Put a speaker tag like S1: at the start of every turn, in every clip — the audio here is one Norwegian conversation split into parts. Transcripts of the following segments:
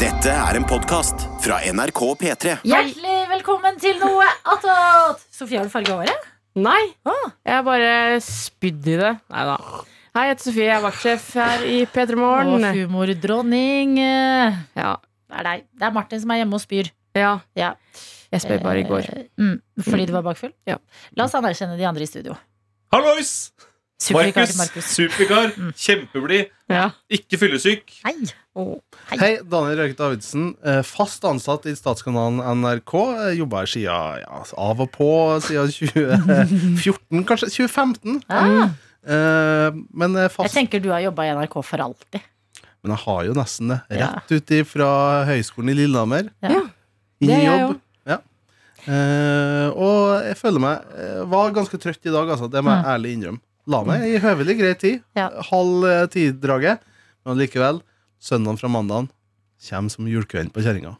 S1: Dette er en podkast fra NRK P3.
S2: Hjertelig velkommen til noe attåt! Sofie, har du farga håret?
S3: Nei,
S2: Ah.
S3: jeg har bare spydd i det. Nei da. Hei, jeg heter Sofie, jeg er vaktsjef her i P3
S2: Og
S3: Morgen.
S2: humordronning. eh,
S3: Ja,
S2: Det er deg. Det er Martin som er hjemme og spyr.
S3: ja.
S2: Ja.
S3: Jeg spøy bare i går.
S2: Eh, Mm, fordi du var bakfull?
S3: Ja.
S2: La oss anerkjenne de andre i studio.
S4: Hallois!
S2: Supervikar til
S4: Markus.
S2: Markus.
S4: Supervikar.
S2: Mm.
S4: Kjempeblid.
S3: Ja.
S4: Ikke fyllesyk.
S2: Hei.
S3: Åh.
S5: Hei, Daniel Røyke Davidsen. eh, Fast ansatt i statskanalen NRK. eh, Jobba her siden ja, altså av og på siden 2014, kanskje 2015.
S2: Ah,
S3: Mm.
S5: Eh, Men eh,
S2: jeg
S5: fast
S2: tenker du har jobba i NRK for alltid.
S5: Men jeg har jo nesten det. Rett ut fra Høgskolen i Lillehammer.
S2: Ja.
S3: Ja.
S5: Inn
S3: Det er
S5: i
S3: jeg
S5: jobb. Ja. Eh, og jeg føler meg eh, Var ganske trøtt i dag, altså. Det må jeg ærlig innrømme. La meg i høvelig grei tid.
S2: Ja.
S5: Halv eh, ti-draget. Men likevel, søndagen fra mandagen kommer som julekvelden på kjerringa.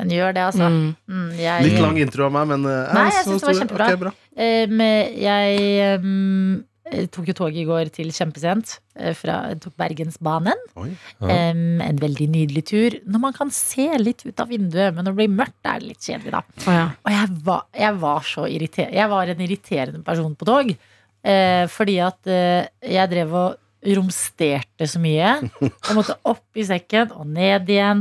S2: Den gjør det, altså.
S3: Mm.
S2: Mm, jeg,
S5: Litt lang intro av meg, men eh,
S2: Nei,
S5: er
S2: jeg
S5: så
S2: synes det var
S5: stor-
S2: kjempebra.
S5: ok, bra.
S2: Eh, men jeg mm, eh, tok jo toget i går til kjempesent. eh, Fra, tok Bergensbanen.
S5: Oi.
S2: Em, en veldig nydelig tur. Når man kan se litt ut av vinduet, men når det blir mørkt, er det litt kjedelig, da.
S3: Å, ja.
S2: Og jeg var, jeg var så irriterende. Jeg var en irriterende person på tog. Eh, fordi at eh, jeg drev og romsterte så mye. Jeg måtte opp i sekken og ned igjen.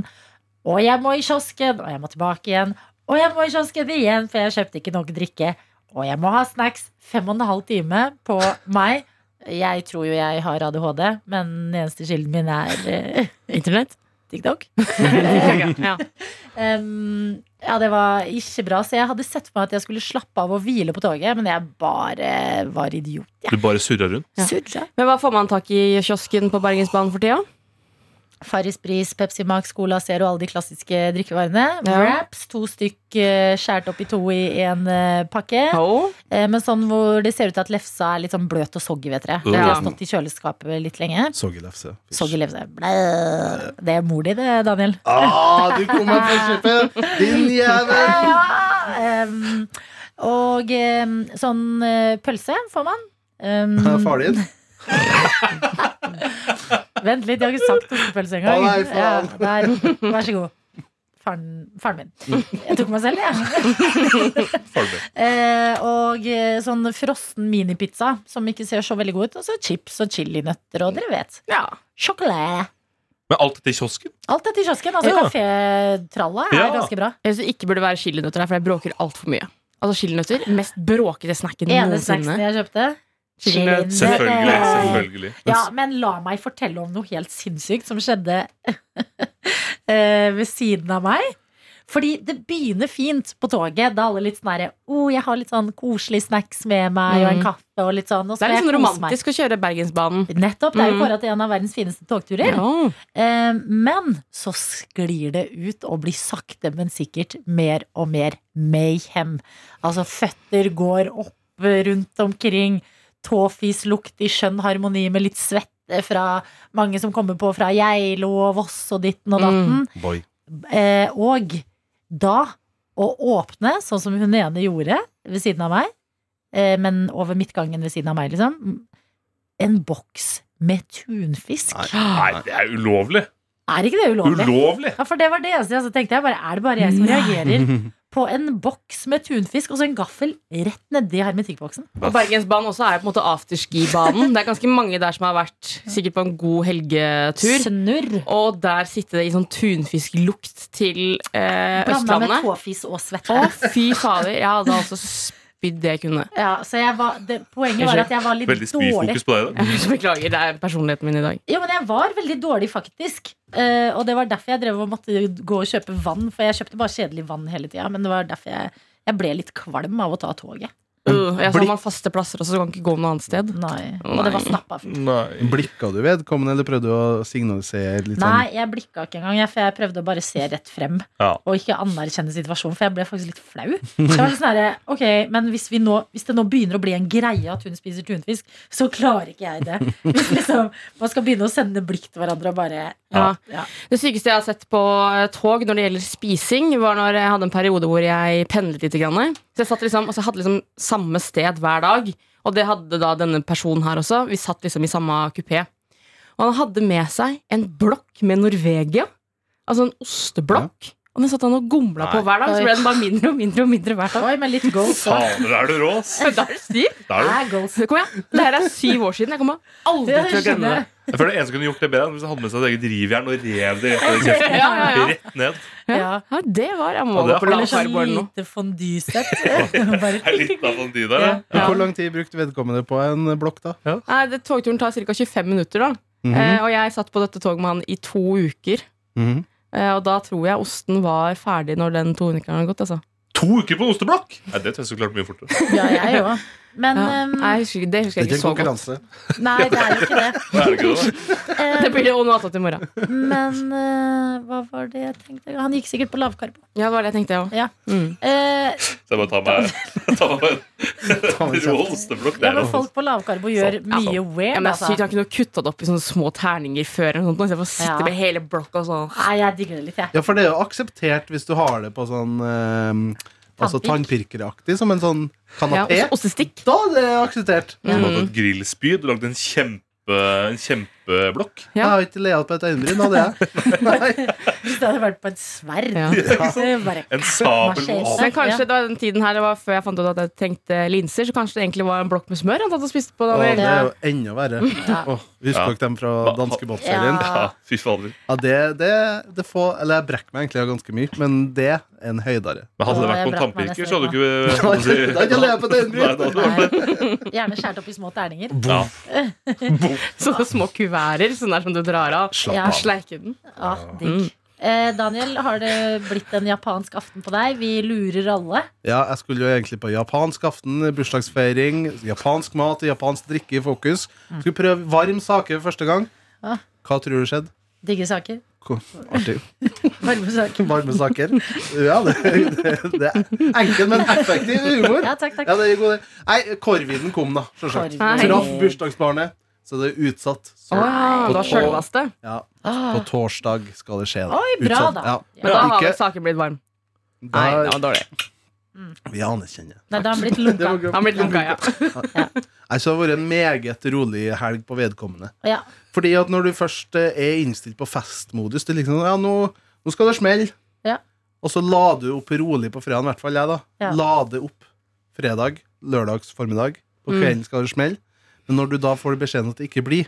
S2: Og jeg må i kiosken, og jeg må tilbake igjen. Og jeg må i kiosken igjen, for jeg kjøpte ikke nok drikke. Og jeg må ha snacks. Fem og en halv time på meg. Jeg tror jo jeg har ADHD, men den eneste kilden min er eh,
S3: Internett?
S2: TikTok.
S3: Ja.
S2: Um, ja, det var ikke bra, så jeg hadde sett for meg at jeg skulle slappe av og hvile på toget, men jeg bare var idiot.
S4: Du bare surra rundt.
S3: Ja.
S2: Surra.
S3: Men hva får man tak i i kiosken på Bergensbanen for tida?
S2: Farris Bris, Pepsi Max, Cola Zero, alle de klassiske drikkevarene.
S3: Ja.
S2: Wraps, to stykk eh, skjært opp i to i én pakke.
S3: Oh.
S2: Eh, Men sånn hvor det ser ut til at lefsa er litt sånn bløt og soggy, vet dere. Det
S3: Ja.
S2: har stått i kjøleskapet litt lenge.
S5: Soggy lefse.
S2: Soggy lefse. Blæ. Det er mor di, det, Daniel.
S5: Ah, du kom meg på kjøpet! Din jævel!
S2: Ja, um, og um, sånn uh, pølse får man. Um,
S5: Far din?
S2: vent litt, jeg har ikke sagt ostepølse engang.
S5: Å, nei, faen.
S2: Ja, der. Vær så god. Faren, faren min. Jeg tok meg selv, jeg.
S4: Farlig.
S2: Eh, og eh, sånn frossen minipizza som ikke ser så veldig god ut. Og så chips og chilinøtter og dere vet.
S3: Ja.
S2: Sjokolade.
S4: Men alt dette i kiosken?
S2: Alt dette i kiosken. Altså
S4: Ja.
S2: kafétralla er
S4: Ja.
S2: ganske bra.
S3: Jeg synes det ikke burde være chilinøtter der, for jeg bråker altfor mye. Altså chilinøtter, mest bråkete snacken
S2: Ene snacksen
S3: noensinne.
S2: jeg kjøpte.
S3: Chilinøtter.
S2: Chilinøtter.
S4: Selvfølgelig. selvfølgelig
S2: Ja, men la meg fortelle om noe helt sinnssykt som skjedde eh, ved siden av meg. Fordi det begynner fint på toget. Da alle litt sånn herre oh, jeg har litt sånn koselig snacks med meg, og en
S3: Mm.
S2: kaffe og litt sånn. Og
S3: Det er
S2: skal
S3: litt sånn
S2: jeg kose meg.»
S3: romantisk å kjøre Bergensbanen.
S2: Nettopp. Det er jo
S3: Mm.
S2: kåra til en av verdens fineste togturer.
S3: Ja.
S2: Eh, men så sklir det ut og blir sakte, men sikkert mer og mer mayhem. Altså, føtter går opp rundt omkring. Tåfislukt i skjønn harmoni med litt svette fra mange som kommer på fra Geilo og Voss og ditten og datten.
S5: Boy.
S2: Eh, og da å åpne, sånn som hun ene gjorde ved siden av meg, eh, men over midtgangen ved siden av meg, liksom, en boks med tunfisk.
S4: Nei, det er ulovlig.
S2: Er ikke det ulovlig?
S4: Ulovlig!
S2: Ja, for det var det eneste jeg så tenkte. Jeg bare, er det bare jeg
S4: Mm.
S2: som reagerer på en boks med tunfisk og så en gaffel rett nedi hermetikkboksen?
S3: Og Bergensbanen også er på en måte afterski-banen. Det er ganske mange der som har vært sikkert på en god helgetur.
S2: Snurr.
S3: Og der sitter det i sånn tunfisklukt til eh,
S2: Blanda med
S3: Østlandet.
S2: tåfis og svette.
S3: Å, fy fader. Jeg hadde altså spydd det jeg kunne.
S2: Ja, så jeg var, det, poenget var at jeg var litt
S4: Veldig
S2: dårlig.
S4: spyfokus på deg i dag.
S3: Jeg Beklager, det er personligheten min i dag.
S2: Jo, men jeg var veldig dårlig, faktisk. Eh, og det var derfor jeg drev og måtte gå og kjøpe vann. For jeg kjøpte bare kjedelig vann hele tida. Men det var derfor jeg, jeg ble litt kvalm av å ta toget.
S3: Uh, jeg sa
S5: Blikk.
S3: man faste plasser, og så kan man ikke gå noe annet sted.
S2: Nei. Og det var snappa fullt.
S4: Nei.
S5: Blikka du vedkommende, eller prøvde du å signalisere litt sånn?
S2: Nei, jeg blikka ikke engang, jeg, for jeg prøvde å bare se rett frem.
S4: Ja.
S2: Og ikke anerkjenne situasjonen, for jeg ble faktisk litt flau. Så jeg var litt sånn herre, ok, Men hvis, vi nå, hvis det nå begynner å bli en greie at hun spiser tunfisk, så klarer ikke jeg det. Hvis liksom, man skal begynne å sende blikk til hverandre og bare
S3: Ja.
S2: ja.
S3: Det sykeste jeg har sett på eh, tog når det gjelder spising, var når jeg hadde en periode hvor jeg pendlet litt. Grann. Så jeg satt liksom, altså jeg hadde liksom samme sted hver dag, og det hadde da denne personen her også. Vi satt liksom i samme kupé. Og han hadde med seg en blokk med Norvegia. Altså en osteblokk. Og den satt han og gomla på hver dag, så ble den bare mindre og mindre og mindre hver dag.
S2: Oi, men litt goals òg.
S4: Fader, er du rå, ass!
S3: Da er det stiv.
S4: Da er du.
S3: Kom igjen. Det her er syv år siden. Jeg kommer aldri til å glemme det.
S4: Jeg føler en som kunne gjort det bedre, hvis han hadde med seg et eget rivjern og rev det rett ned i kjeften.
S3: Ja, ja, ja.
S4: Rett ned.
S2: Ja.
S3: Ja, det var Jeg må
S4: Ja, det
S3: gå på
S4: er-
S2: Eller sånn
S3: lavkarboen nå.
S2: lite fondysett.
S4: Det er litt av sånn de der.
S2: Ja.
S4: ja.
S3: Ja.
S5: Hvor lang tid brukte vedkommende på en blokk, da?
S3: Nei, det, Togturen tar ca. 25 minutter, da.
S5: Mhm.
S3: eh, og jeg satt på dette toget med han i to uker.
S5: Mhm.
S3: Eh, og da tror jeg osten var ferdig når den 200-keren hadde gått. Altså.
S4: To uker på en osteblokk! Nei, det tror jeg skulle klart mye fortere.
S2: Ja, jeg òg. Men
S3: Ja.
S2: ehm,
S3: Nei, jeg husker, ikke- det husker jeg
S5: Det er
S3: ikke
S5: ikke en
S3: så godt.
S5: konkurranse.
S2: nei, det er jo ikke det.
S4: Det er det ikke det, da.
S2: Eh,
S3: Det blir det og noe annet i morgen.
S2: Men eh, hva var det jeg tenkte? Han gikk sikkert på lavkarbo.
S3: Ja, det var det jeg tenkte, jeg òg.
S2: Ja.
S3: Mm.
S2: Eh,
S4: Så jeg bare tar meg, tar meg en rå osteblokk
S2: ja,
S4: der.
S2: men
S4: altså.
S2: folk på lavkarbo gjør
S5: Sånn.
S4: Sant.
S2: mye
S3: Ja,
S2: weird.
S3: men det er sykt,
S2: Altså.
S3: Han kunne kutta det opp i sånne små terninger før. Eller noe, sånt, istedenfor å sitte
S2: Ja.
S3: med hele blokka og sånn.
S2: Nei, jeg digger det litt, jeg.
S5: Ja, for det er jo akseptert hvis du har det på sånn eh, Altså tannpirkeraktig, som en sånn
S3: Ja,
S5: kanapé.
S3: også ostestikk.
S5: Da er det akseptert.
S4: Du har tatt et grillspyd og lagd en kjempe en kjempeblokk.
S3: Ja.
S5: Jeg har ikke lea på et øyenbryn, hadde jeg. Nei.
S2: Hvis det hadde vært på et sverd.
S3: Ja.
S2: Så jeg bare,
S4: En sabel
S2: Marsjer.
S4: og
S3: Men kanskje det var den tiden her Det var før jeg fant ut at jeg trengte linser, så kanskje det egentlig var en blokk med smør han tatt og spiste på. Da,
S5: Og det
S3: vel?
S5: er jo enda verre. Åh, husk
S4: Ja.
S5: dere dem fra danskebåtserien?
S2: Ja.
S4: Ja, fy fader.
S5: Ja, det, det, det får Eller jeg brekker meg egentlig ganske mye, men det er en høydere.
S4: Men hadde det
S2: Åh,
S4: vært
S2: jeg
S4: på en
S2: brakk meg
S4: tannpirker,
S2: nesten
S4: så hadde du ikke
S5: Da hadde jeg ikke lea på et
S4: Nei, da
S5: øyenbryn.
S4: hadde du vært
S2: Nei. Gjerne skåret opp i små terninger.
S4: Ja.
S3: Sånne små kuverter sånn der som du drar av.
S2: Ja.
S3: Og sleiker den.
S2: Ja, Ah, digg. Eh, Daniel, har det blitt en japansk aften på deg? Vi lurer alle.
S5: Ja, jeg skulle jo egentlig på japansk aften, bursdagsfeiring, japansk mat, japansk drikke i fokus. Skulle prøve varm sake første gang.
S2: Ja.
S5: Hva tror du skjedde?
S2: Digge saker.
S5: Ko- Artig.
S2: Varme saker.
S5: Varme saker. Ja, det, det, det er enkel, men effektiv humor.
S2: Ja, takk, takk.
S5: Ja, det er god det. Nei, korviden kom, da. Selvsagt.
S3: Nei.
S5: Traff bursdagsbarnet, så det er utsatt. Så,
S3: Ah, det var sjølvaste.
S5: ja,
S2: Ah.
S5: på torsdag skal det skje. da.
S2: Oi, bra,
S5: Utsatt.
S2: da.
S5: Ja.
S3: Men da har
S5: Ikke-
S3: vel saken blitt varm. Nei, det
S5: Da,
S3: var dårlig.
S5: vi anerkjenner.
S2: Nei, da har han blitt
S5: Det
S2: lunka.
S5: var gøy.
S3: Han ble litt lunka, ja.
S5: Nei, så det har vært en meget rolig helg på vedkommende.
S2: Ja.
S5: Fordi at når du først eh, er innstilt på festmodus Det er liksom, ja, nå, nå skal det smelle
S2: Ja.
S5: Og så la du opp rolig på fredagen I hvert fall jeg da
S2: Ja.
S5: La det opp fredag, lørdags formiddag På
S3: Mm.
S5: kvelden skal det smelle Men når du da får beskjeden at det ikke blir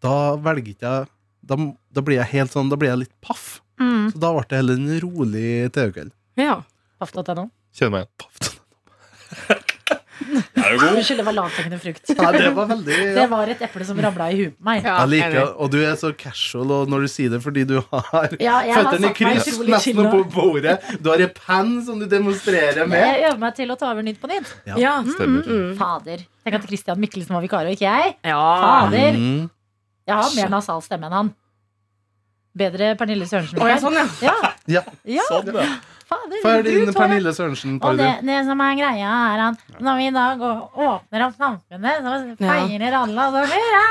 S5: Da velger ikke jeg da, da blir jeg helt sånn, da blir jeg litt paff
S2: Mm.
S5: Så da ble det heller en rolig TV-kveld
S3: ja.
S2: Paff.no.
S4: Kjenner meg igjen.
S5: Paff.
S4: Er du god?
S2: Unnskyld, det var lavthengende frukt.
S5: Nei, det var veldig
S2: Det var et eple som ramla i huet på meg.
S3: ja
S5: Jeg liker,
S3: enig.
S5: og du er så casual og når du sier det fordi du har
S2: Ja, jeg har satt
S5: føttene i
S2: meg
S5: kryss
S2: utrolig
S5: nesten
S2: chill
S5: oppå
S2: nå.
S5: bordet. Du har en penn som du demonstrerer med.
S2: Jeg øver meg til å ta over Nytt på nytt.
S3: Ja.
S4: Stemmer.
S2: Mm. Fader. Tenk at Christian Mikkelsen var vikar, og ikke jeg.
S3: ja.
S2: Fader.
S5: Mm.
S2: Jeg har mer nasal stemme enn han. Bedre Pernille Sørensen.
S3: Å, ja, sånn, ja.
S2: Ja,
S5: Ja,
S2: ja,
S4: Sånn, ja.
S2: fader.
S5: for
S2: du
S5: din
S2: tar det.
S5: Pernille Sørensen
S2: Og det,
S5: parodi.
S2: det som er greia, er at når vi i dag å- åpner opp samfunnet, så feirer alle og så hurra,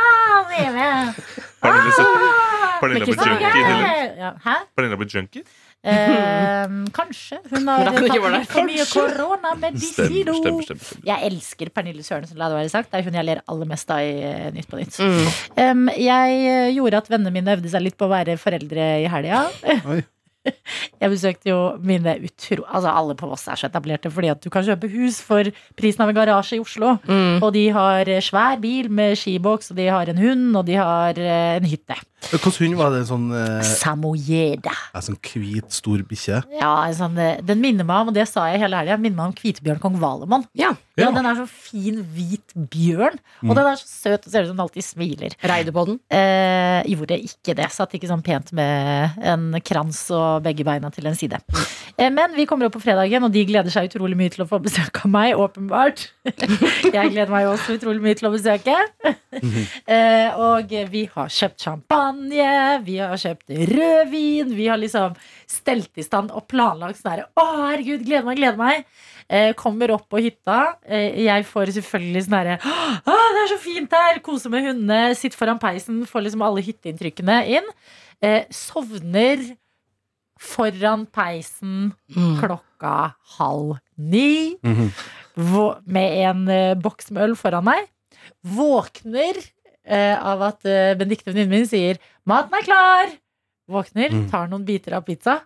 S2: sier vi.
S4: Pernille Sø- Pernille har blitt
S2: Ah! Så
S4: junkie. Hilde.
S2: gøy! Ja, hæ?
S4: Pernille har blitt junkie.
S2: Eh, kanskje. Hun har
S3: Da kan
S2: tatt
S3: det ikke være
S2: litt for mye
S4: Stemmer, stemmer,
S2: koronamedisino.
S4: stemmer. stemmer.
S2: Jeg elsker Pernille Sørensen, la det være sagt. Det er hun jeg ler aller mest av i eh, Nytt på nytt.
S3: Mm.
S2: Em, jeg eh, gjorde at vennene mine øvde seg litt på å være foreldre i helga.
S5: Oi.
S2: Jeg besøkte jo mine utro... Altså, alle på Voss er så etablerte fordi at du kan kjøpe hus for prisen av en garasje i Oslo.
S3: Mm.
S2: Og de har eh, svær bil med skiboks, og de har en hund, og de har eh, en hytte.
S5: Hvilken hund var det? En sånn, eh,
S2: Samojeda.
S5: en sånn hvit, stor bikkje?
S2: Ja, en sånn, eh, den minner meg om, og det sa jeg hele helga, minner meg om Kvitebjørn kong Valemon.
S3: ja.
S2: Ja.
S4: Ja.
S2: den er så fin, hvit bjørn, og
S5: Mm.
S2: den er så søt og ser ut som den alltid smiler.
S3: Reide på den.
S2: Eh, gjorde ikke det. Satt ikke sånn pent med en krans og begge beina til en side. Eh, men vi kommer opp på fredagen, og de gleder seg utrolig mye til å få besøk av meg, åpenbart. Jeg gleder meg også utrolig mye til å besøke. Eh, og vi har kjøpt champagne, vi har kjøpt rødvin, vi har liksom stelt i stand og planlagt sånn her Å, herregud, gleder meg, gleder meg. Eh, kommer opp på hytta. Eh, jeg får selvfølgelig sånn herre Å, det er så fint her! Kose med hundene, sitte foran peisen, får liksom alle hytteinntrykkene inn. Eh, sovner foran peisen
S3: Mm.
S2: klokka halv ni vå- med en eh, boks med øl foran meg. Våkner eh, av at eh, Benedicte, venninnen min, sier 'maten er klar'. Våkner,
S5: Mm.
S2: tar noen biter av pizza.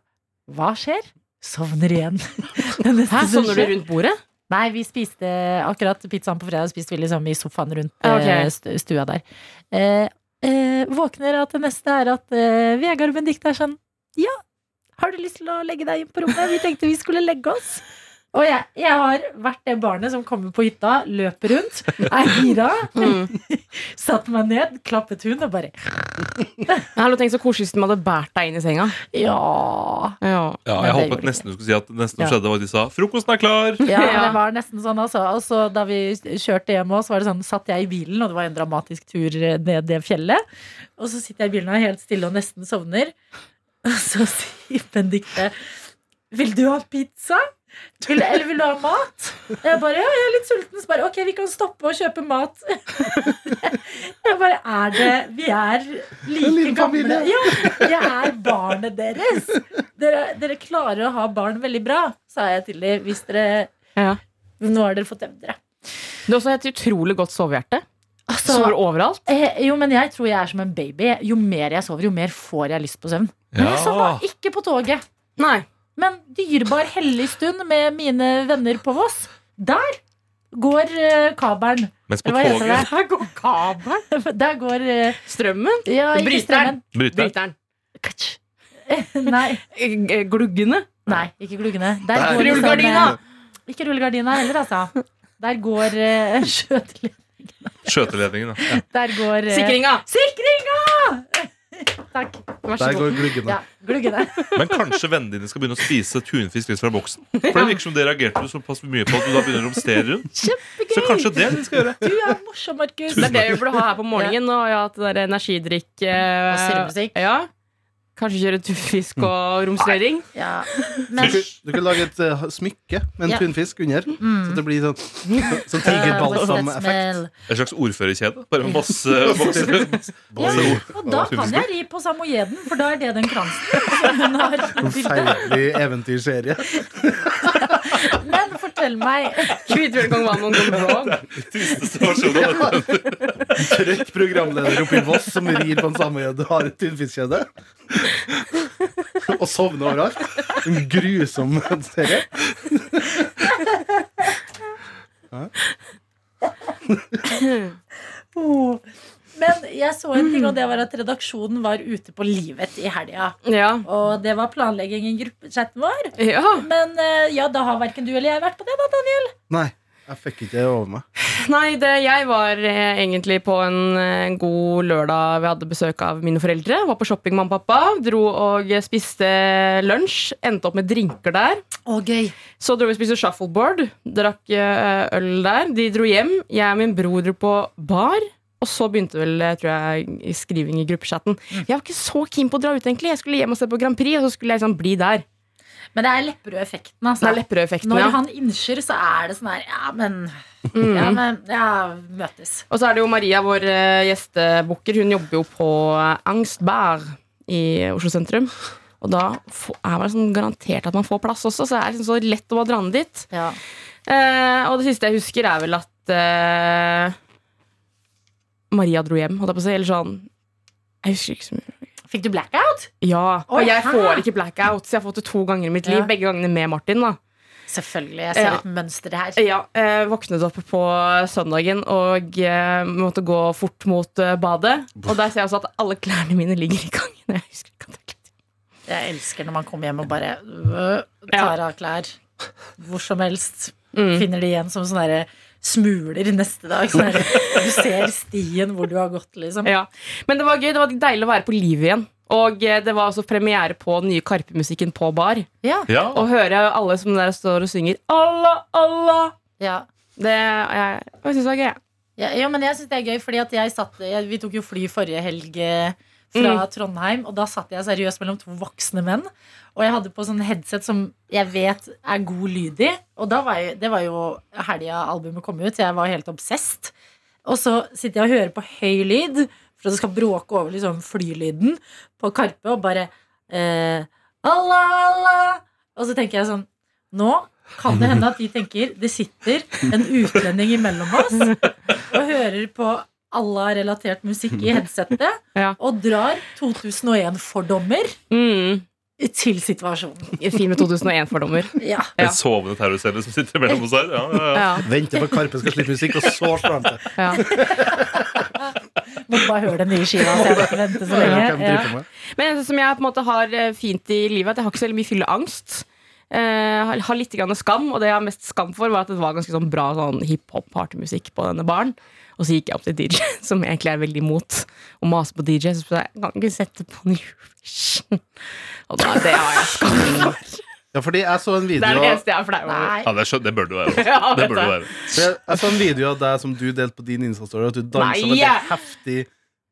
S2: Hva skjer? Sovner igjen. Det neste
S3: Hæ,
S2: som
S3: Sovner Sånn du
S2: skjer-
S3: rundt bordet?
S2: Nei, vi spiste akkurat pizzaen på fredag. Spiste vi liksom i sofaen rundt
S3: Ja, ok.
S2: eh, st- stua der. Eh, eh, våkner av at det neste er at eh, Vegard og Benedicte er sånn Ja, har du lyst til å legge deg inn på rommet? Vi tenkte vi skulle legge oss. Og jeg, jeg har vært det barnet som kommer på hytta, løper rundt, er gira,
S3: Mm.
S2: satte meg ned, klappet hun og bare
S3: Hallo, tenk så koselig hvis de hadde båret deg inn i senga.
S2: Ja.
S3: Ja.
S2: Nei,
S4: Ja, jeg
S2: det gjorde
S4: håpet
S2: de
S4: nesten du skulle si at det neste som
S2: Ja.
S4: skjedde, var at de sa 'frokosten er klar'.
S2: Ja,
S3: Ja.
S2: det var nesten sånn altså. Og så da vi kjørte hjem også, så var det sånn, satt jeg i bilen, og det var en dramatisk tur eh, ned det fjellet. Og så sitter jeg i bilen og er helt stille og nesten sovner. Og så sier Benedicte Vil du ha pizza? Vil, eller vil du ha mat? Og Jeg bare, ja, jeg er litt sulten. Så bare, ok, vi kan stoppe og kjøpe mat. Jeg bare, er det Vi er
S5: En
S2: like
S5: liten
S2: gamle.
S5: familie.
S2: Ja, jeg er barnet deres. Dere, dere klarer å ha barn veldig bra, sa jeg til dem. Hvis dere
S3: Ja.
S2: Nå har dere fått evne.
S3: Du har også et utrolig godt sovehjerte.
S2: Altså,
S3: Sover overalt.
S2: eh, jo, men jeg tror jeg er som en baby. Jo mer jeg sover, jo mer får jeg lyst på søvn. Men jeg sovna ikke på toget.
S3: Nei.
S2: Men dyrebar hellig stund med mine venner på Voss. Der går eh, kabelen.
S4: Mens på
S2: Eller Hva heter
S4: toget
S2: det? Der går eh,
S3: Strømmen.
S2: Ja, ikke
S3: Bryteren.
S2: strømmen.
S4: bryter jeg.
S3: Bryteren.
S2: Katsch. Nei,
S3: Eh, G- Gluggene.
S2: nei, ikke gluggene. Der
S5: Der.
S2: går liksom, eh,
S3: Rullegardina.
S2: Ikke rullegardina heller, altså. Der går eh, skjøtelig-
S4: skjøteledningen. da.
S2: Der går eh,
S3: Sikringa.
S2: Sikringa! Takk.
S3: Vær så
S5: Der
S3: god.
S5: går gluggene.
S2: Ja, gluggene.
S4: Men kanskje vennene dine skal begynne å spise tunfisk litt fra boksen? For det virker som det reagerte du såpass mye på at du da begynner å romstere rundt. Så kanskje det er det de skal gjøre.
S2: Du er morsom, Markus.
S3: Det er det vi burde ha her på morgenen. Og ja, at det der energidrikk eh,
S2: Og surremusikk.
S3: Ja. Kanskje kjøre tunfisk og romsrøring.
S2: Ja.
S5: Du
S2: Men
S5: kunne, du kunne lage et eh, smykke med en
S2: Ja.
S5: tunfisk under. Så
S2: mm.
S5: det blir sånn, sånn
S2: Uh,
S5: tigerbalsam-effekt.
S2: smell.
S4: En slags ordførerkjede. Bare masse, masse, masse.
S2: Ja,
S5: Oi.
S2: og da kan jeg ri på samojeden, for da er det den kransen som hun har i bildet.
S5: Feilelig eventyrserie.
S2: Men fortell meg
S3: Kvitbjørn kong Vamon går blå.
S4: tristeste versjonen av dette.
S5: Trøtt programleder oppe i Voss som rir på en samejede, har et tunfiskkjede. Og sovner overalt. En grusom serie.
S2: oh. Men jeg så en ting, og det var at redaksjonen var ute på livet i helga.
S3: Ja.
S2: Og det var planlegging i gruppechatten vår.
S3: ja.
S2: Men eh, ja, da har verken du eller jeg vært på det, da, Daniel.
S5: Nei, jeg fikk ikke det over meg.
S3: Nei, det, jeg var eh, egentlig på en eh, god lørdag. Vi hadde besøk av mine foreldre. Var på shopping med mamma og pappa. Dro og eh, spiste lunsj. Endte opp med drinker der.
S2: Å, gøy.
S3: Så dro vi og spiste shuffleboard. Drakk eh, øl der. De dro hjem. Jeg og min bror dro på bar. Og så begynte vel eh, tror jeg, skriving i gruppechatten. Jeg var ikke så keen på å dra ut. egentlig Jeg skulle hjem og se på Grand Prix, og så skulle jeg liksom bli der.
S2: Men det er Lepperød-effekten,
S3: Det
S2: altså.
S3: er Lepperød-effekten,
S2: Når
S3: ja.
S2: han innser, så er det sånn her Ja, men
S3: Mm.
S2: Ja, men Ja, møtes.
S3: Og så er det jo Maria, vår eh, gjestebukker. Hun jobber jo på eh, Angst Bar i Oslo sentrum. Og da få- er man sånn garantert at man får plass også, så det er liksom så lett å bare dra ned dit.
S2: Ja.
S3: Eh, og det siste jeg husker, er vel at eh, Maria dro hjem, holdt jeg på å si. Eller sånn Jeg husker ikke så mye.
S2: Fikk du blackout?
S3: Ja.
S2: Oi,
S3: Og jeg
S2: hæ?
S3: får ikke blackout, så jeg har fått det to ganger i mitt liv.
S2: Ja.
S3: Begge gangene med Martin, da.
S2: Selvfølgelig. Jeg ser
S3: Ja.
S2: et mønster her.
S3: Ja, eh, våknet opp på søndagen og eh, måtte gå fort mot eh, badet. Og der ser jeg også at alle klærne mine ligger i gangen. Jeg husker ikke at jeg kledde.
S2: Jeg elsker når man kommer hjem og bare øh, tar av klær. Hvor som helst.
S3: Mm.
S2: Finner de igjen som sånne der smuler neste dag. Sånn der, du ser stien hvor du har gått, liksom.
S3: Ja. Men det var gøy, det var deilig å være på liv igjen. Og eh, det var også premiere på den nye Karpe-musikken på bar.
S2: Ja.
S4: Ja.
S3: Og høre alle som der står og synger Allah, Allah.
S2: ja.
S3: Det jeg, jeg synes det var gøy. jeg.
S2: Ja, jo, men jeg synes det er gøy, fordi at jeg satt jeg, Vi tok jo fly forrige helg eh, fra Trondheim, og da satt jeg seriøst mellom to voksne menn. Og jeg hadde på sånn headset som jeg vet er god lyd i. Og da var jeg, det var jo helga albumet kom ut, så jeg var helt obsessed. Og så sitter jeg og hører på høy lyd, for at det skal bråke over liksom flylyden på Karpe, og bare eh, Allah, Allah. Og så tenker jeg sånn Nå kan det hende at de tenker det sitter en utlending imellom oss og hører på Allah relatert musikk i headsetet,
S3: Ja.
S2: og drar 2001-fordommer
S3: Mm.
S2: til situasjonen.
S3: Fin med 2001-fordommer.
S2: Ja.
S3: Ja.
S4: En sovende terrorcelle som sitter mellom oss her. Ja, ja, ja.
S3: Ja,
S5: Vente på Karpe skal slippe musikk, og så slår han til.
S3: ja.
S2: Må bare høre den nye skiva, så jeg må ikke vente så
S5: Hva er det de
S2: lenge. Ja.
S5: driver med?
S3: Men det som jeg på en måte har eh, fint i livet, er at jeg har ikke så veldig mye fylleangst. Eh, har, har litt grann skam, og det jeg har mest skam for, var at det var ganske sånn bra sånn hiphop-partymusikk på denne baren. Og så gikk jeg opp til DJ, som egentlig er veldig imot å mase på DJ. Så sa jeg kan ikke sette på en Eurovision. Og da, det har jeg skam for.
S5: Ja, fordi jeg så en
S3: Det er
S5: video
S3: det eneste jeg er flau over.
S2: Nei.
S4: Ja, det, er skjønt, det bør det jo være.
S3: Ja,
S4: også. Det
S3: vet
S4: bør det jo
S3: jeg.
S4: være.
S5: jeg, jeg så en video av deg som du delte på din Insta-story, at du dansa med
S3: Nei!
S5: det heftig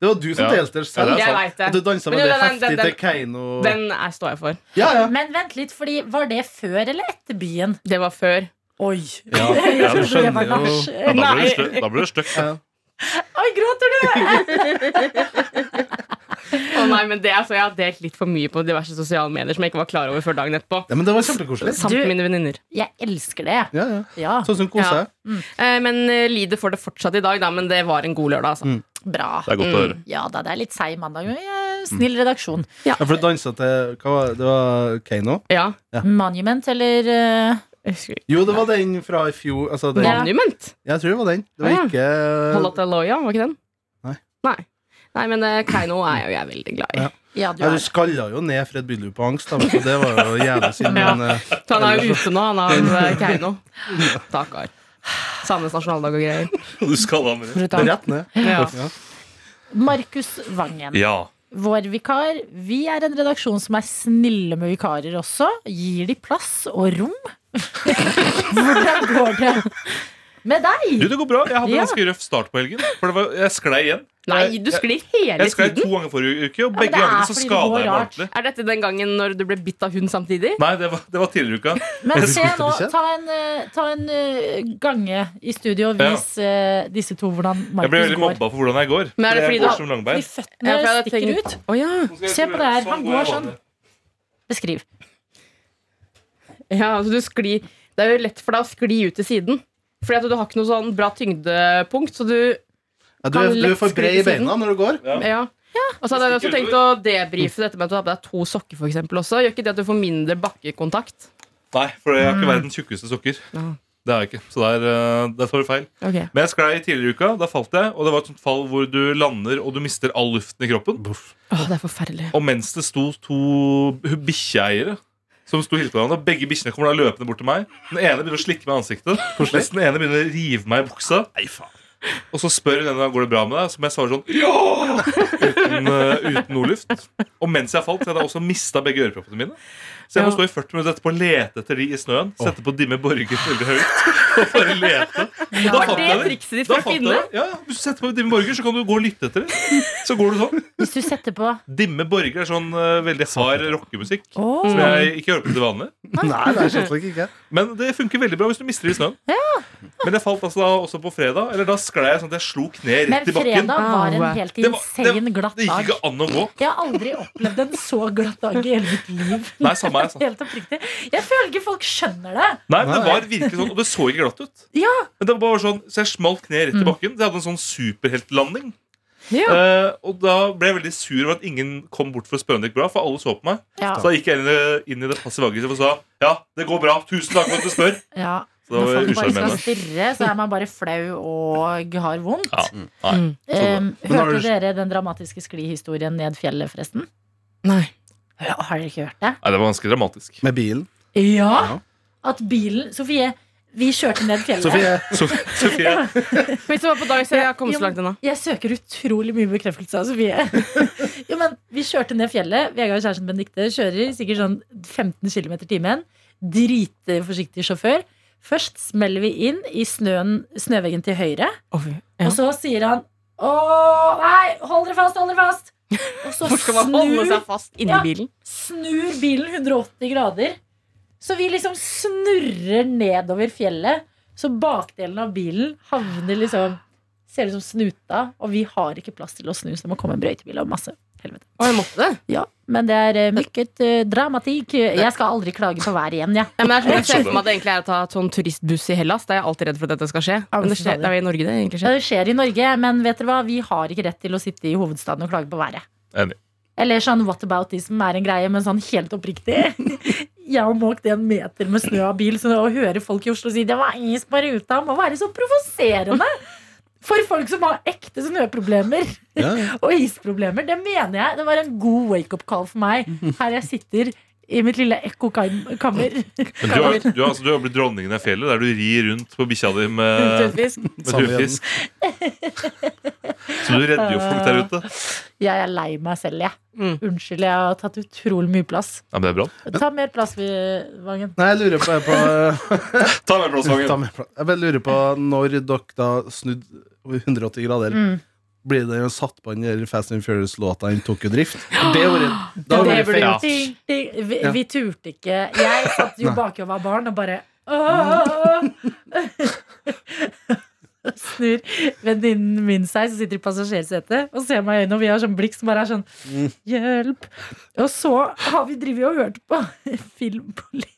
S5: Det var du som
S4: Ja.
S5: delte selv,
S3: det er
S4: Ja,
S3: sant. Jeg vet det.
S5: at du dansa med
S3: Men jo,
S5: det
S3: den-
S5: heftig
S3: den- den-
S5: til Keiino
S3: Den er, står jeg for.
S5: Ja, ja.
S2: Men vent litt, fordi var det før eller etter byen?
S3: Det var før.
S2: Oi!
S5: Ja,
S2: Jeg
S5: du
S2: trodde det
S5: skjønner
S2: var
S5: jo.
S2: nach.
S4: Ja, da blir det
S3: Nei.
S4: stø- da blir det støkk.
S5: Ja.
S2: Oi, gråter du?
S3: Å nei, men det, altså, Jeg har delt litt for mye på diverse sosiale medier som jeg ikke var klar over før dagen etterpå.
S5: ja, men det var kjempekoselig.
S3: Samt
S2: Du-
S3: mine venninner.
S2: Jeg elsker det.
S5: Ja, ja.
S2: Ja,
S5: Sånn som koser
S3: Ja.
S5: jeg.
S3: Eh, Men eh, lider for det fortsatt i dag, da, men det var en god lørdag. Altså.
S2: bra.
S4: Det er godt å høre.
S2: Ja da, det er litt seig mandag, men eh, snill
S5: Mm.
S2: redaksjon.
S5: Ja, for du dansa til hva var, det? Det var Keiino?
S3: Ja,
S2: Monument eller eh,
S3: jeg husker ikke.
S5: Jo, det var den fra i fjor. Altså, den.
S2: Ja.
S3: Monument!
S5: Jeg tror det var den. Det var
S3: Ja.
S5: ikke
S3: Halata Loya, var ikke den?
S5: Eh. Nei.
S3: Nei, Nei men eh, Keiino er jo jeg veldig glad i.
S2: Ja,
S5: Ja.
S2: du
S5: ja, Du
S2: er
S5: skalla jo ned Fred Bydlu på angst, da, vet du. det var jo jævlig synd.
S3: Ja.
S5: Men, eh,
S3: Så han er jo ute nå, han av eh, Keiino. Stakkar. Sandnes nasjonaldag og greier.
S4: Du skal ha med det.
S5: det er
S2: brutal.
S5: rett ned.
S3: Ja.
S5: Ja.
S2: Markus Vangen,
S4: Ja.
S2: vår vikar. Vi er en redaksjon som er snille med vikarer også. Gir de plass og rom? Hvordan går det med
S4: Du,
S2: deg?
S4: det går bra. Jeg hadde en
S2: Ja.
S4: ganske røff start på helgen. For det var, jeg sklei igjen.
S3: Nei,
S4: Jeg-
S3: du sklir hele
S4: Jeg sklei
S3: tiden!
S4: to ganger forrige uke, og
S2: men
S4: begge
S2: det er
S4: gangene
S2: fordi
S4: så
S2: det
S4: skada
S2: går
S4: jeg meg
S2: rart.
S4: ordentlig.
S3: Er dette den gangen når du ble bitt av hund samtidig?
S4: Nei, det var, det var tidligere i uka.
S2: Men se nå,
S5: du ikke?
S2: ta en, eh, ta en eh, gange i studio og
S4: Ja.
S2: vis eh, disse to hvordan
S4: Jeg ble
S2: Markus går.
S4: veldig mobba for hvordan jeg går.
S3: Men er det fordi
S4: jeg
S3: du-
S4: går som
S2: De
S4: langbein.
S2: føttene
S3: for jeg hadde
S2: stikker
S3: tenkt-
S2: ut.
S3: Å ja.
S2: Se på det her. Han går sånn. Beskriv.
S3: Ja, altså du sklir Det er jo lett for deg å skli ut til siden. Fordi at du har ikke noe sånn bra tyngdepunkt, så du
S5: Ja, du, er, du er for bred i beina når du går.
S3: Ja. Og så hadde jeg også tenkt å debrife dette med at du har på deg to sokker, for eksempel, også. Gjør ikke det at du får mindre bakkekontakt?
S4: Nei, for jeg har ikke verdens tjukkeste sokker.
S3: Ja.
S4: Det har jeg ikke. Så der, eh, der tar du feil. Men jeg sklei tidligere i uka. Da falt jeg. Og det var et sånt fall hvor du lander og du mister all luften i kroppen.
S3: Åh, det er forferdelig.
S4: Og mens det sto to bikkjeeiere som sto og hilste på hverandre, og begge bikkjene kommer da løpende bort til meg. Den ene begynner å slikke meg i ansiktet. Mens den ene begynner å rive meg i buksa. Og så spør hun henne går det bra med deg, som jeg svarer sånn ja! Uten, eh, uten noe luft. Og mens jeg falt, så hadde jeg også mista begge øreproppene mine. Så jeg må
S3: Ja.
S4: stå i 40 minutter etterpå og lete etter de i snøen. Sette på Dimme Borger veldig høyt. Og bare lete. Og da
S3: Var
S4: fant
S3: det
S4: jeg dem.
S3: trikset ditt
S4: Da
S3: for å
S4: fant jeg
S3: finne?
S4: dem. Ja, ja. Hvis du setter på Dimme Borger, så kan du gå og lytte etter dem. Så går du sånn.
S2: Hvis du setter på
S4: Dimme Borger er sånn eh, veldig hard rockemusikk.
S2: Åh.
S4: Som jeg ikke hører på til vanlig.
S5: Nei, det er selvsagt ikke.
S4: Men det funker veldig bra hvis du mister det i snøen. Men jeg falt altså da også på fredag. Eller da sklei jeg sånn at jeg slo kneet
S2: Men
S4: rett i bakken.
S2: fredag var en
S3: Au.
S2: helt
S4: Det var- det-
S2: insane glatt
S4: Det
S2: dag.
S4: gikk ikke an å gå.
S2: Jeg har aldri opplevd en så glatt dag i hele mitt liv.
S4: Nei, samme her, altså.
S2: Helt oppriktig. Jeg føler ikke folk skjønner det.
S4: Nei, men det var virkelig sånn, og det så ikke glatt ut.
S2: Ja. Mm.
S4: Men det var bare sånn, Så jeg smalt kneet rett i bakken. Så jeg hadde en sånn superheltlanding.
S3: Ja.
S4: Eh, og da ble jeg veldig sur over at ingen kom bort for å spørre om det gikk bra, for alle så på meg.
S2: Ja,
S4: Så da gikk jeg inn i det, inn i det passive aggressive og sa ja, det går bra. Tusen takk for at du spør.
S2: ja.
S4: Så det
S2: Når
S4: var
S2: folk bare skal
S4: usjarmerende.
S2: stirre, så er man bare flau og har vondt.
S4: Ja. Nei.
S2: Ehm,
S5: Men har
S2: hørte
S5: du-
S2: dere den dramatiske sklihistorien ned fjellet, forresten?
S3: Nei.
S2: Ja, har dere ikke hørt det?
S4: Nei, det var ganske dramatisk.
S5: Med bilen.
S2: Ja! At bilen Sofie, vi kjørte ned fjellet.
S5: Sofie,
S4: Sofie,
S3: Hvis det var på dag, så jeg har kommet
S2: Jo,
S3: så langt unna.
S2: Jeg søker utrolig mye bekreftelse av Sofie. jo, men vi kjørte ned fjellet. Vegard og kjæresten Benedicte kjører sikkert sånn 15 km i timen. Dritforsiktig sjåfør. Først smeller vi inn i snøen, snøveggen til høyre,
S3: Ja.
S2: og så sier han Åh, nei! Hold dere fast, hold dere fast! Og så
S3: Hvorfor skal man holde
S2: snur,
S3: seg fast inni
S2: Ja.
S3: bilen?
S2: snur bilen 180 grader. Så vi liksom snurrer nedover fjellet. Så bakdelen av bilen havner liksom Ser ut som snuta, og vi har ikke plass til å snu, så det må komme en brøytebil og masse. helvete.
S3: Å, jeg måtte det.
S2: Ja, men det er eh, mykket eh, dramatikk. Jeg skal aldri klage på været igjen, jeg.
S3: Ja, men det er sånn jeg ser for meg at det egentlig er å ta et sånn turistbuss i Hellas. Da er jeg alltid redd for at dette skal skje.
S2: Ja,
S3: Men det,
S2: fy
S3: skjer,
S2: fader.
S3: det er jo i Norge det egentlig
S2: Ja,
S3: skjer.
S2: det skjer i Norge, men vet dere hva? Vi har ikke rett til å sitte i hovedstaden og klage på været.
S4: Enig.
S2: Eller sånn what about this som er en greie, men sånn helt oppriktig. Jeg har måkt en meter med snø av bil, så å høre folk i Oslo si det var is på ruta, må være så provoserende. For folk som har ekte snøproblemer
S5: Ja, ja.
S2: og isproblemer. Det mener jeg. Det var en god wake-up call for meg her jeg sitter i mitt lille ekkokammer.
S4: Men du har, du, har, altså, du har blitt dronningen av fjellet, der du rir rundt på bikkja di med,
S3: Tøfffisk.
S4: med
S5: Samme igjen.
S4: turfisk. Så du redder jo folk der ute.
S2: Jeg er lei meg selv, jeg.
S3: Mm.
S2: Unnskyld, jeg har tatt utrolig mye plass.
S4: Ja, men det er bra.
S2: Ta mer plass, vi- Vangen.
S5: Nei, jeg lurer på, jeg på,
S4: Ta med
S5: ta
S4: blåsangen.
S5: med pla- jeg bare lurer på når dere da snudd 180 grader
S2: Mm.
S5: Blir det jo satt på den der Fast and Furious-låta Den tok jo drift? Det var det, da
S2: Det
S5: var
S2: ble
S5: det feil.
S4: Ja.
S2: ting, ting. Vi,
S5: Ja.
S2: vi turte ikke. Jeg satt jo
S5: Nei. Mm.
S2: baki og var barn og bare «Åh!» Snur venninnen min seg, som sitter i passasjersetet, og ser meg i øynene, og vi har sånn blikk som bare er sånn
S5: Mm.
S2: Hjelp! Og så har vi drevet og hørt på filmpolitiet.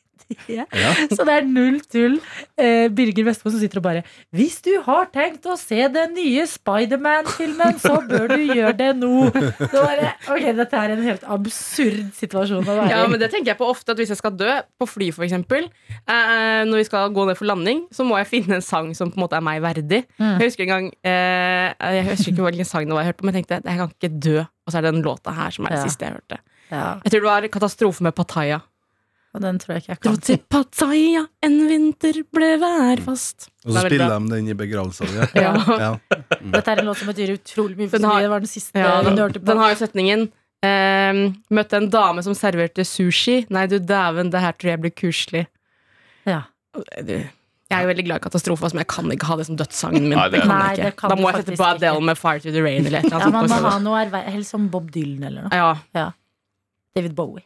S5: Ja.
S2: Så det er null tull. Eh, Birger Vestmo som sitter og bare Hvis du har tenkt å se den nye Spiderman-filmen, så bør du gjøre det nå. Det bare, ok, Dette er en helt absurd situasjon å være
S3: Ja, men
S2: i.
S3: det tenker jeg på ofte at Hvis jeg skal dø, på fly for eksempel eh, Når vi skal gå ned for landing, så må jeg finne en sang som på en måte er meg verdig.
S2: Mm.
S3: Jeg husker en gang eh, Jeg husker ikke hvilken sang det var jeg hørte på, men jeg tenkte jeg kan ikke dø. Og så er det den låta her som er det
S2: Ja.
S3: siste jeg hørte.
S2: Ja,
S3: Jeg tror det var 'Katastrofe med Pattaya'.
S2: og den tror jeg ikke jeg
S3: Dro
S2: kan.
S3: til Pattaya, en vinter ble værfast. Det
S5: Og så
S3: er veldig
S5: spiller
S3: bra.
S5: de den i begravelsen. Ja.
S3: Ja.
S5: Ja.
S2: Dette er en låt som betyr utrolig mye. for
S3: Den har-
S2: meg. det var den siste
S3: Ja, den,
S2: hun hørte på.
S3: den har jo setningen ehm, Møtte en dame som serverte sushi. Nei, du dæven, det her tror jeg blir kuselig.
S2: ja.
S3: Du, Jeg er jo veldig glad i katastrofer, men jeg kan ikke ha det som dødssangen min.
S4: Nei, det-
S3: det kan
S2: Nei,
S3: jeg ikke.
S2: det kan
S3: da
S2: du
S3: må jeg sette
S2: faktisk
S3: på
S2: ikke.
S3: Adele med Fire to the Rain eller et
S2: ja,
S3: eller
S2: Man må ha
S3: annet. sånt.
S2: noe erver- helst som Bob Dylan eller noe.
S3: Ja,
S2: David Bowie.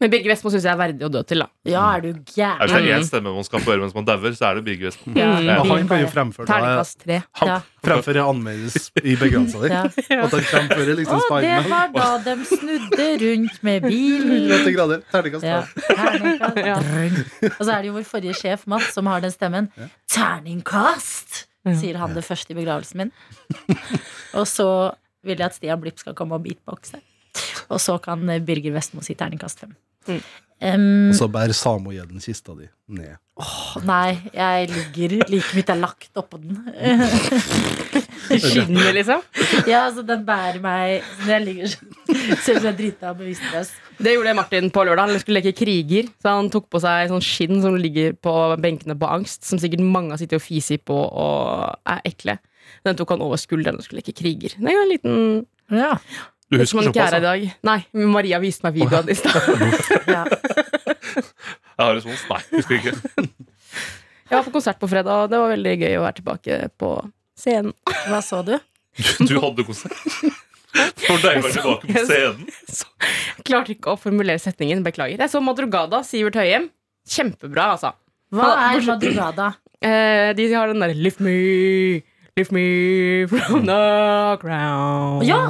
S3: Men Birger Vestmo syns jeg er verdig å dø til, da.
S2: Ja, er du
S4: Ja, Hvis det
S2: gæren?
S4: er én stemme man skal få høre mens man dauer, så er det Birger Westmo.
S2: Ja,
S3: Mm.
S5: Og
S2: vi
S5: han kan jo
S2: bare-
S5: fremføre det
S3: Terningkast tre.
S2: Ja.
S4: Han,
S5: Fremfor å anmeldes i begravelsen din.
S2: Ja.
S5: At han fremfører liksom
S2: Og det var
S5: Spiderman.
S2: da de snudde rundt med bilen.
S5: 180 grader. Terningkast
S2: Ja.
S5: tolv.
S2: Terningkast.
S3: Ja.
S2: Drrrn. Og så er det jo vår forrige sjef, Mats, som har den stemmen. Terningkast! Sier han det først i begravelsen min. Og så vil jeg at Stian Blipp skal komme og beatboxe. Og så kan Birger Vestmo si terningkast fem.
S3: Mm.
S2: Um,
S5: Og så bærer samogjedden kista di ned.
S2: åh, nei, jeg ligger like mitt er lagt oppå den.
S3: Skinner, liksom.
S2: Ja, altså den bærer meg når jeg ligger sånn. Ser ut som jeg er drita og bevisstløs.
S3: Det gjorde Martin på lørdag. Han skulle leke kriger. Så han tok på seg sånn skinn som ligger på benkene på angst, som sikkert mange har sittet og fiset på og er ekle. Den tok han over skulderen og skulle leke kriger. Det er jo en liten
S2: Ja.
S4: du
S3: Som
S4: husker
S3: han ikke
S4: såpass? altså?
S3: er her i
S4: da?
S3: dag. Nei, Maria viste meg videoen i stad.
S2: ja.
S4: Jeg har respons. Nei, husker ikke.
S3: Jeg var på konsert på fredag, og det var veldig gøy å være tilbake på scenen.
S2: Hva så du?
S4: Du hadde konsert. For deg å være tilbake på scenen.
S3: Klarte ikke å formulere setningen. Beklager. Jeg så Madrugada, Sivert Høyem. Kjempebra, altså.
S2: Hva er Madrugada?
S3: Eh, de har den derre 'Lift me, lift me from the ground'.
S2: Ja.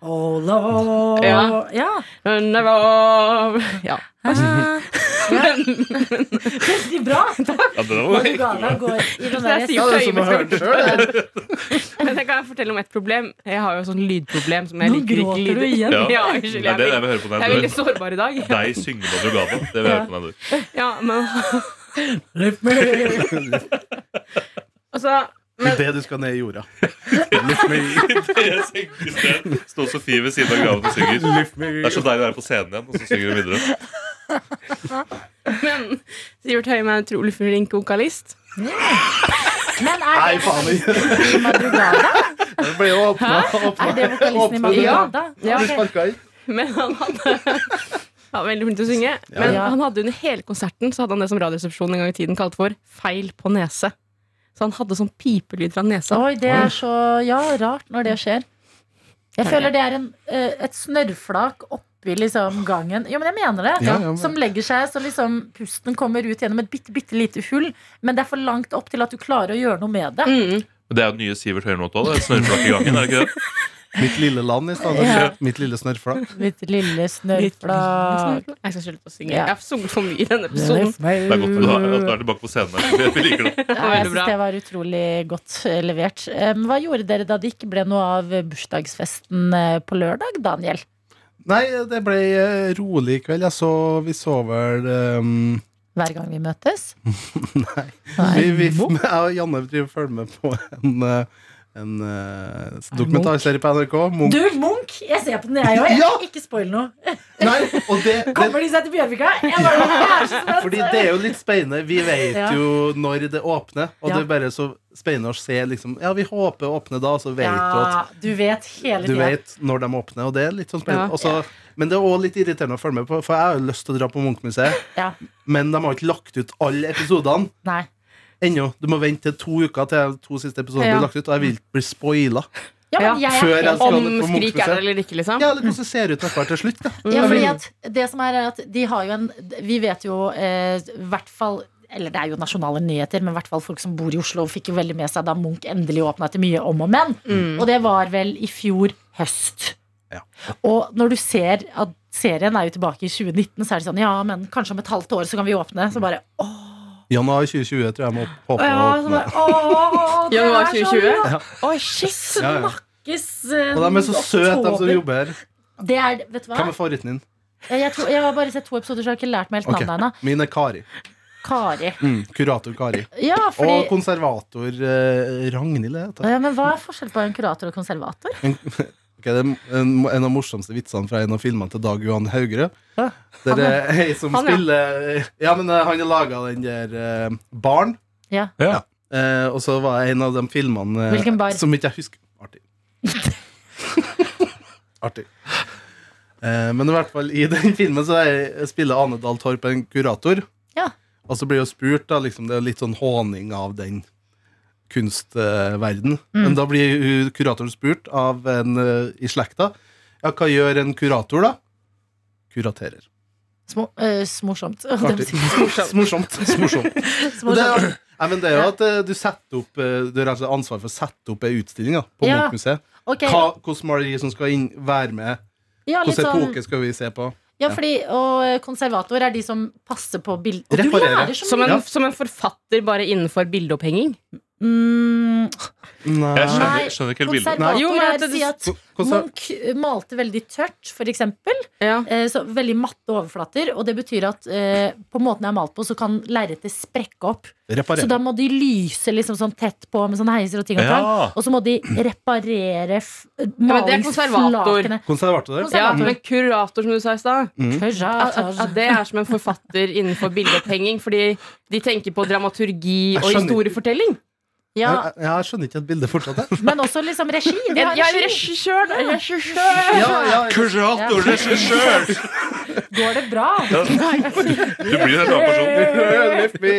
S2: Oh, lord.
S3: Ja.
S2: ja.
S3: Never. Ja.
S2: Ah. Veldig bra!
S4: Ja, det var
S2: Madrugada går i den
S3: Det er
S2: der
S5: Ja,
S3: sykt.
S5: det er som å høre det sjøl.
S3: Men jeg kan fortelle om et problem. Jeg har jo sånn lydproblem som jeg
S2: Nå
S3: liker ikke
S2: gråter du
S3: lyder.
S2: igjen.
S4: Ja.
S3: Ja,
S4: Det
S3: unnskyld.
S4: er det jeg
S3: Jeg
S4: vil høre
S3: er
S4: på den
S3: veldig
S4: døren.
S3: sårbar i dag.
S4: Deg synge Madrugada. Det vil jeg høre på den døren.
S3: Ja, men
S2: Lift me.
S3: altså
S5: Idet du skal ned i jorda. Lift me,
S4: Jeg synger i sted. Står Sofie ved siden av graven og synger.
S5: lift me.
S4: Det er så deilig å være på scenen igjen, og så synger hun videre.
S3: Men Sivert Høyem er en utrolig flink vokalist.
S2: Men
S5: Nei,
S2: er
S5: faen. Det
S2: det i Madrugada?
S5: ble jo åpna.
S2: Er det vokalisten i Madrugada?
S3: Ja.
S5: Du sparka inn.
S3: Men han hadde han var veldig flink til å synge. Men
S2: Ja.
S3: han hadde under hele konserten Så hadde han det som Radioresepsjonen en gang i tiden kalte for feil på nese. Så han hadde sånn pipelyd fra nesa.
S2: Oi, det er så ja, rart når det skjer. Jeg føler det er en, eh, et snørrflak oppi liksom gangen. Jo, men jeg mener det.
S5: Ja, ja, men-
S2: Som legger seg så liksom pusten kommer ut gjennom et bitte, bitte lite hull. Men det er for langt opp til at du klarer å gjøre noe med det.
S3: Mm.
S4: Det er jo den nye Sivert Høyem-låta. det. Snørrflakk i gangen, er det ikke det?
S5: Mitt lille land i stedet.
S2: Ja.
S5: Mitt lille snørrflak.
S2: Mitt lille snørrflak.
S3: liksom. Jeg skal slutte å synge.
S2: Ja.
S3: Jeg har sunget for mye i denne episoden.
S4: Det er godt at du er, at du
S2: Snørrflak.
S4: er tilbake på scenen. her. Vi liker det.
S2: Ja, jeg
S3: Veldig
S2: synes
S3: bra.
S2: det var utrolig godt eh, levert. Eh, Hva gjorde dere da det ikke ble noe av bursdagsfesten eh, på lørdag, Daniel?
S5: Nei, det ble eh, rolig i kveld. Jeg så, vi så vel ehm,
S2: Hver gang vi møtes?
S5: Nei.
S2: Nei.
S5: Vi, vi, jeg og Janne driver og følger med på en, eh, en eh, dokumentarserie på NRK. Munch.
S2: Du, Munch! Jeg ser på den, jeg òg.
S5: Ja!
S2: Ikke spoil noe.
S5: Nei, og det, det,
S2: Kommer de seg til Bjørvika? Jeg bare, jeg er så spent.
S5: Fordi det er jo litt spennende. Vi vet
S2: Ja.
S5: jo når det åpner, og
S2: Ja.
S5: det er bare så spennende å se liksom Ja, vi håper å åpne da, og så vet du at
S2: ja, du vet hele
S5: du
S2: tida.
S5: vet når de åpner, og det er litt sånn spennende.
S3: Ja.
S5: Og så- men det er òg litt irriterende å følge med på, for jeg har jo lyst til å dra på Munch-museet,
S2: Ja.
S5: men de har ikke lagt ut alle episodene
S2: Nei.
S5: ennå. Du må vente til to uker til de to siste episodene
S3: Ja.
S5: blir lagt ut, og jeg vil ikke bli spoila.
S2: Ja, men
S3: Ja.
S2: jeg er
S5: Før jeg
S2: helt
S5: skal-
S3: Om
S5: det på
S3: Skrik er
S5: Munch-museet.
S3: der eller ikke, liksom.
S5: Ja, eller hvordan det ser ut etter hvert til slutt, da.
S2: Ja, fordi
S5: Mm.
S2: at det som er, er at de har jo en Vi vet jo eh, hvert fall eller det er jo nasjonale nyheter, men i hvert fall folk som bor i Oslo fikk jo veldig med seg da Munch endelig åpna til mye om og men. Og det var vel i fjor høst.
S5: Mm. Ja.
S2: Og når du ser at serien er jo tilbake i 2019, så er det sånn ja, men kanskje om et halvt år så kan vi åpne. Så bare åh,
S5: Januar 2020 tror jeg må håpe
S2: ja,
S5: å
S2: så
S5: åpne.
S2: bare, åh det
S3: Januar
S2: er så
S3: 2020?
S2: bra.
S3: Oi, shit!
S5: Ja, ja.
S2: Snakkes eh,
S5: Og de er så søte, altså, de som jobber her.
S2: Det er, vet du hva?
S5: Hva med favoritten din?
S2: Jeg, jeg, tror, jeg har bare sett to episoder, så jeg har ikke lært meg helt
S5: Ok.
S2: navnet ennå.
S5: Min er Kari.
S2: Kari.
S5: Mm, kurator Kari.
S2: Ja,
S5: Og
S2: fordi
S5: konservator eh, Ragnhild. er det det heter.
S2: ja, men Hva er forskjellen på en kurator og konservator?
S5: Ok, det er en, en av morsomste vitsene fra en av filmene til Dag Johan Haugre.
S2: Hæ?
S5: Der er ei som
S3: Han, ja.
S5: spiller Ja, men eh, han har laga den der eh, Barn.
S2: Ja.
S4: Ja.
S5: Eh, og så var det en av de filmene eh,
S2: Hvilken bar?
S5: som ikke jeg husker. Artig. Artig. Eh, men i hvert fall i den filmen så er, spiller Ane Dahl Torp en kurator.
S2: Ja.
S5: Og så blir hun spurt, da, liksom, det er jo litt sånn håning av den kunstverden.
S2: Mm.
S5: Men da blir hun- kuratoren spurt av en eh, i slekta. Ja, hva gjør en kurator, da? Kuraterer.
S2: Små, øh, smorsomt.
S5: Artig. Morsomt. Morsomt. Men det,
S2: smorsomt.
S5: er- nei, men det er jo at eh, du setter opp eh, Du har altså ansvar for å sette opp ei utstilling da, på
S2: Ja.
S5: Munch-museet.
S2: Ok,
S5: Hva- Hvordan maleri som skal inn, være med.
S2: ja, litt
S5: Hvilken
S2: sånn,
S5: epoke skal vi se på?
S2: ja, fordi, og eh, konservator er de som passer på bild... Og du
S5: Reparere.
S2: lærer så
S3: Som en,
S5: Ja.
S3: som en forfatter bare innenfor bildeopphenging.
S2: mye. Mm,
S4: Jeg
S5: Nei.
S2: Nei,
S4: skjønner, skjønner ikke helt bildet.
S5: Nei.
S2: konservator
S3: Jo, men at
S2: er
S3: det-
S2: si at
S5: Hvordan,
S2: Munch malte veldig tørt, for eksempel.
S3: Ja.
S2: Eh, så veldig matte overflater. Og det betyr at eh, på måten jeg har malt på, så kan lerretet sprekke opp. Så da
S5: reparere.
S2: må de lyse liksom sånn tett på med sånne heiser og ting og tang.
S4: Ja.
S2: Og så må de reparere f-
S3: men det er
S2: malingsflakene.
S5: Konservator.
S3: ja, men kurator, som du sa i stad, at, at, at
S2: Konservator.
S3: det er som en forfatter innenfor bildeopphenging, fordi de tenker på dramaturgi
S5: Jeg
S3: og
S5: skjønner.
S3: historiefortelling.
S2: Ja,
S5: Jeg, jeg, jeg skjønner ikke at bildet fortsatt er
S2: men også liksom regi. De
S3: Jeg
S2: har
S3: er
S2: regi.
S3: regissør! da, regissør.
S5: ja, ja,
S4: Kurator, regissør!
S2: Går det bra?
S4: Du blir en annen person.
S5: Lift me.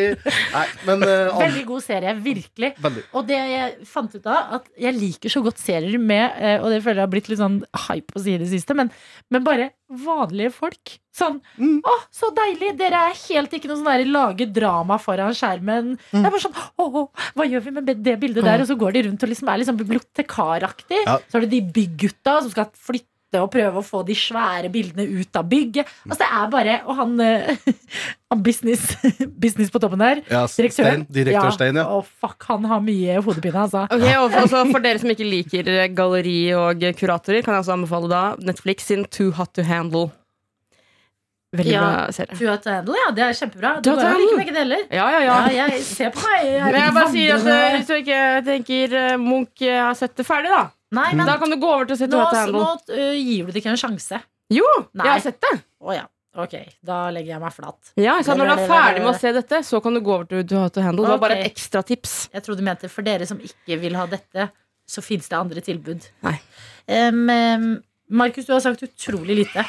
S5: Nei, men eh, an-
S2: Veldig god serie, virkelig.
S5: Veldig.
S2: Og det jeg fant ut av, at jeg liker så godt serier med eh, Og det føler jeg har blitt litt sånn hype å si i det siste, men, men bare vanlige folk. Sånn
S5: Mm.
S2: 'Å, så deilig! Dere er helt ikke noe sånn der lage drama foran skjermen.'
S5: Mm.
S2: Det er bare sånn 'Å, å, hva gjør vi med det bildet der?' Og så går de rundt og liksom er litt sånn bibliotekaraktig.
S5: Ja.
S2: Så er det de byggutta som skal flytte. Og prøve å få de svære bildene ut av bygget. Altså det er bare, Og han, eh, han business, business på toppen der
S5: ja,
S2: Direktør?
S5: Stein, direktør Stein, ja.
S2: Å, fuck, han har mye hodepine, altså.
S3: Ok, og for, altså, for dere som ikke liker eh, galleri og eh, kuratorer, kan jeg også anbefale da Netflix sin Too Hot To Handle. Veldig
S2: Ja.
S3: bra serie.
S2: Du har handle, ja. Det er kjempebra.
S3: Du
S2: Du
S3: har
S2: går jo
S3: talent.
S2: like begge deler.
S3: Ja, ja, ja.
S2: Ja, jeg ser på meg. Jeg er
S3: Men jeg bare sier at eh,
S2: vandrende-
S3: hvis du ikke tenker eh, Munch eh, har sett det ferdig, da,
S2: Nei, men
S3: da kan du gå over til å se
S2: nå,
S3: Too Hot To
S2: så, nå
S3: Handle.
S2: øh, gir du det ikke en sjanse.
S3: Jo,
S2: Nei.
S3: jeg har sett det.
S2: Å ja. Ok, da legger jeg meg flat.
S3: Ja, jeg sa Når du er ferdig med å se dette, så kan du gå over til Too Hot To Handle. Det var bare
S2: Ok.
S3: et ekstra tips.
S2: Jeg tror du mente for dere som ikke vil ha dette, så fins det andre tilbud.
S3: Nei.
S2: Em, em, Markus, du har sagt utrolig lite.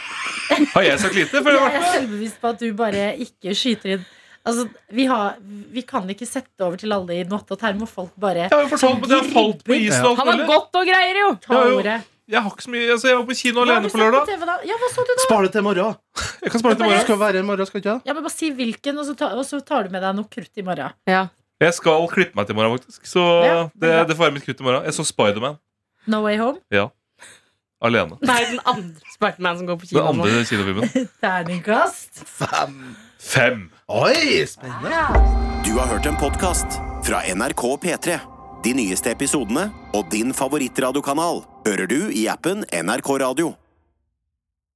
S4: Har jeg sagt lite? For
S2: Jeg
S4: jeg har
S2: er
S4: vært med.
S2: selvbevisst på at du bare ikke skyter inn. Altså, vi, har, vi kan ikke sette over til alle i natt og term, og folk bare
S4: Jeg har jo fortalt om at jeg har falt på isen. og alt
S3: Han har
S4: mulig.
S3: gått og greier, jo!
S2: tar
S4: jo,
S2: ordet.
S4: Jeg har ikke så mye, altså, jeg var på kino
S2: Hva har du
S4: alene
S2: sett
S4: på lørdag.
S2: TV da? Ja, hva så du da?
S5: Spar det til i morgen.
S4: Jeg kan spare til i
S5: Du
S4: morgen.
S5: skal være i morgen, skal du ikke?
S2: Ja, men Bare si hvilken, og så, ta, og så tar du med deg noe krutt i morgen.
S3: Ja.
S4: Jeg skal klippe meg til i morgen, faktisk. Så
S2: Ja, det
S4: det,
S2: er bra.
S4: det får være mitt kutt i morgen. Jeg så Spiderman.
S2: No Way Home?
S4: Ja. alene.
S3: Nei, den andre Spartan-Man som går på
S4: Den
S3: kino. nå.
S4: andre kinofilmen.
S2: Terningkast.
S4: Fem.
S5: Oi, spennende!
S1: Du har hørt en podcast fra NRK P3. De nyeste episodene og din favorittradiokanal hører du i appen NRK Radio.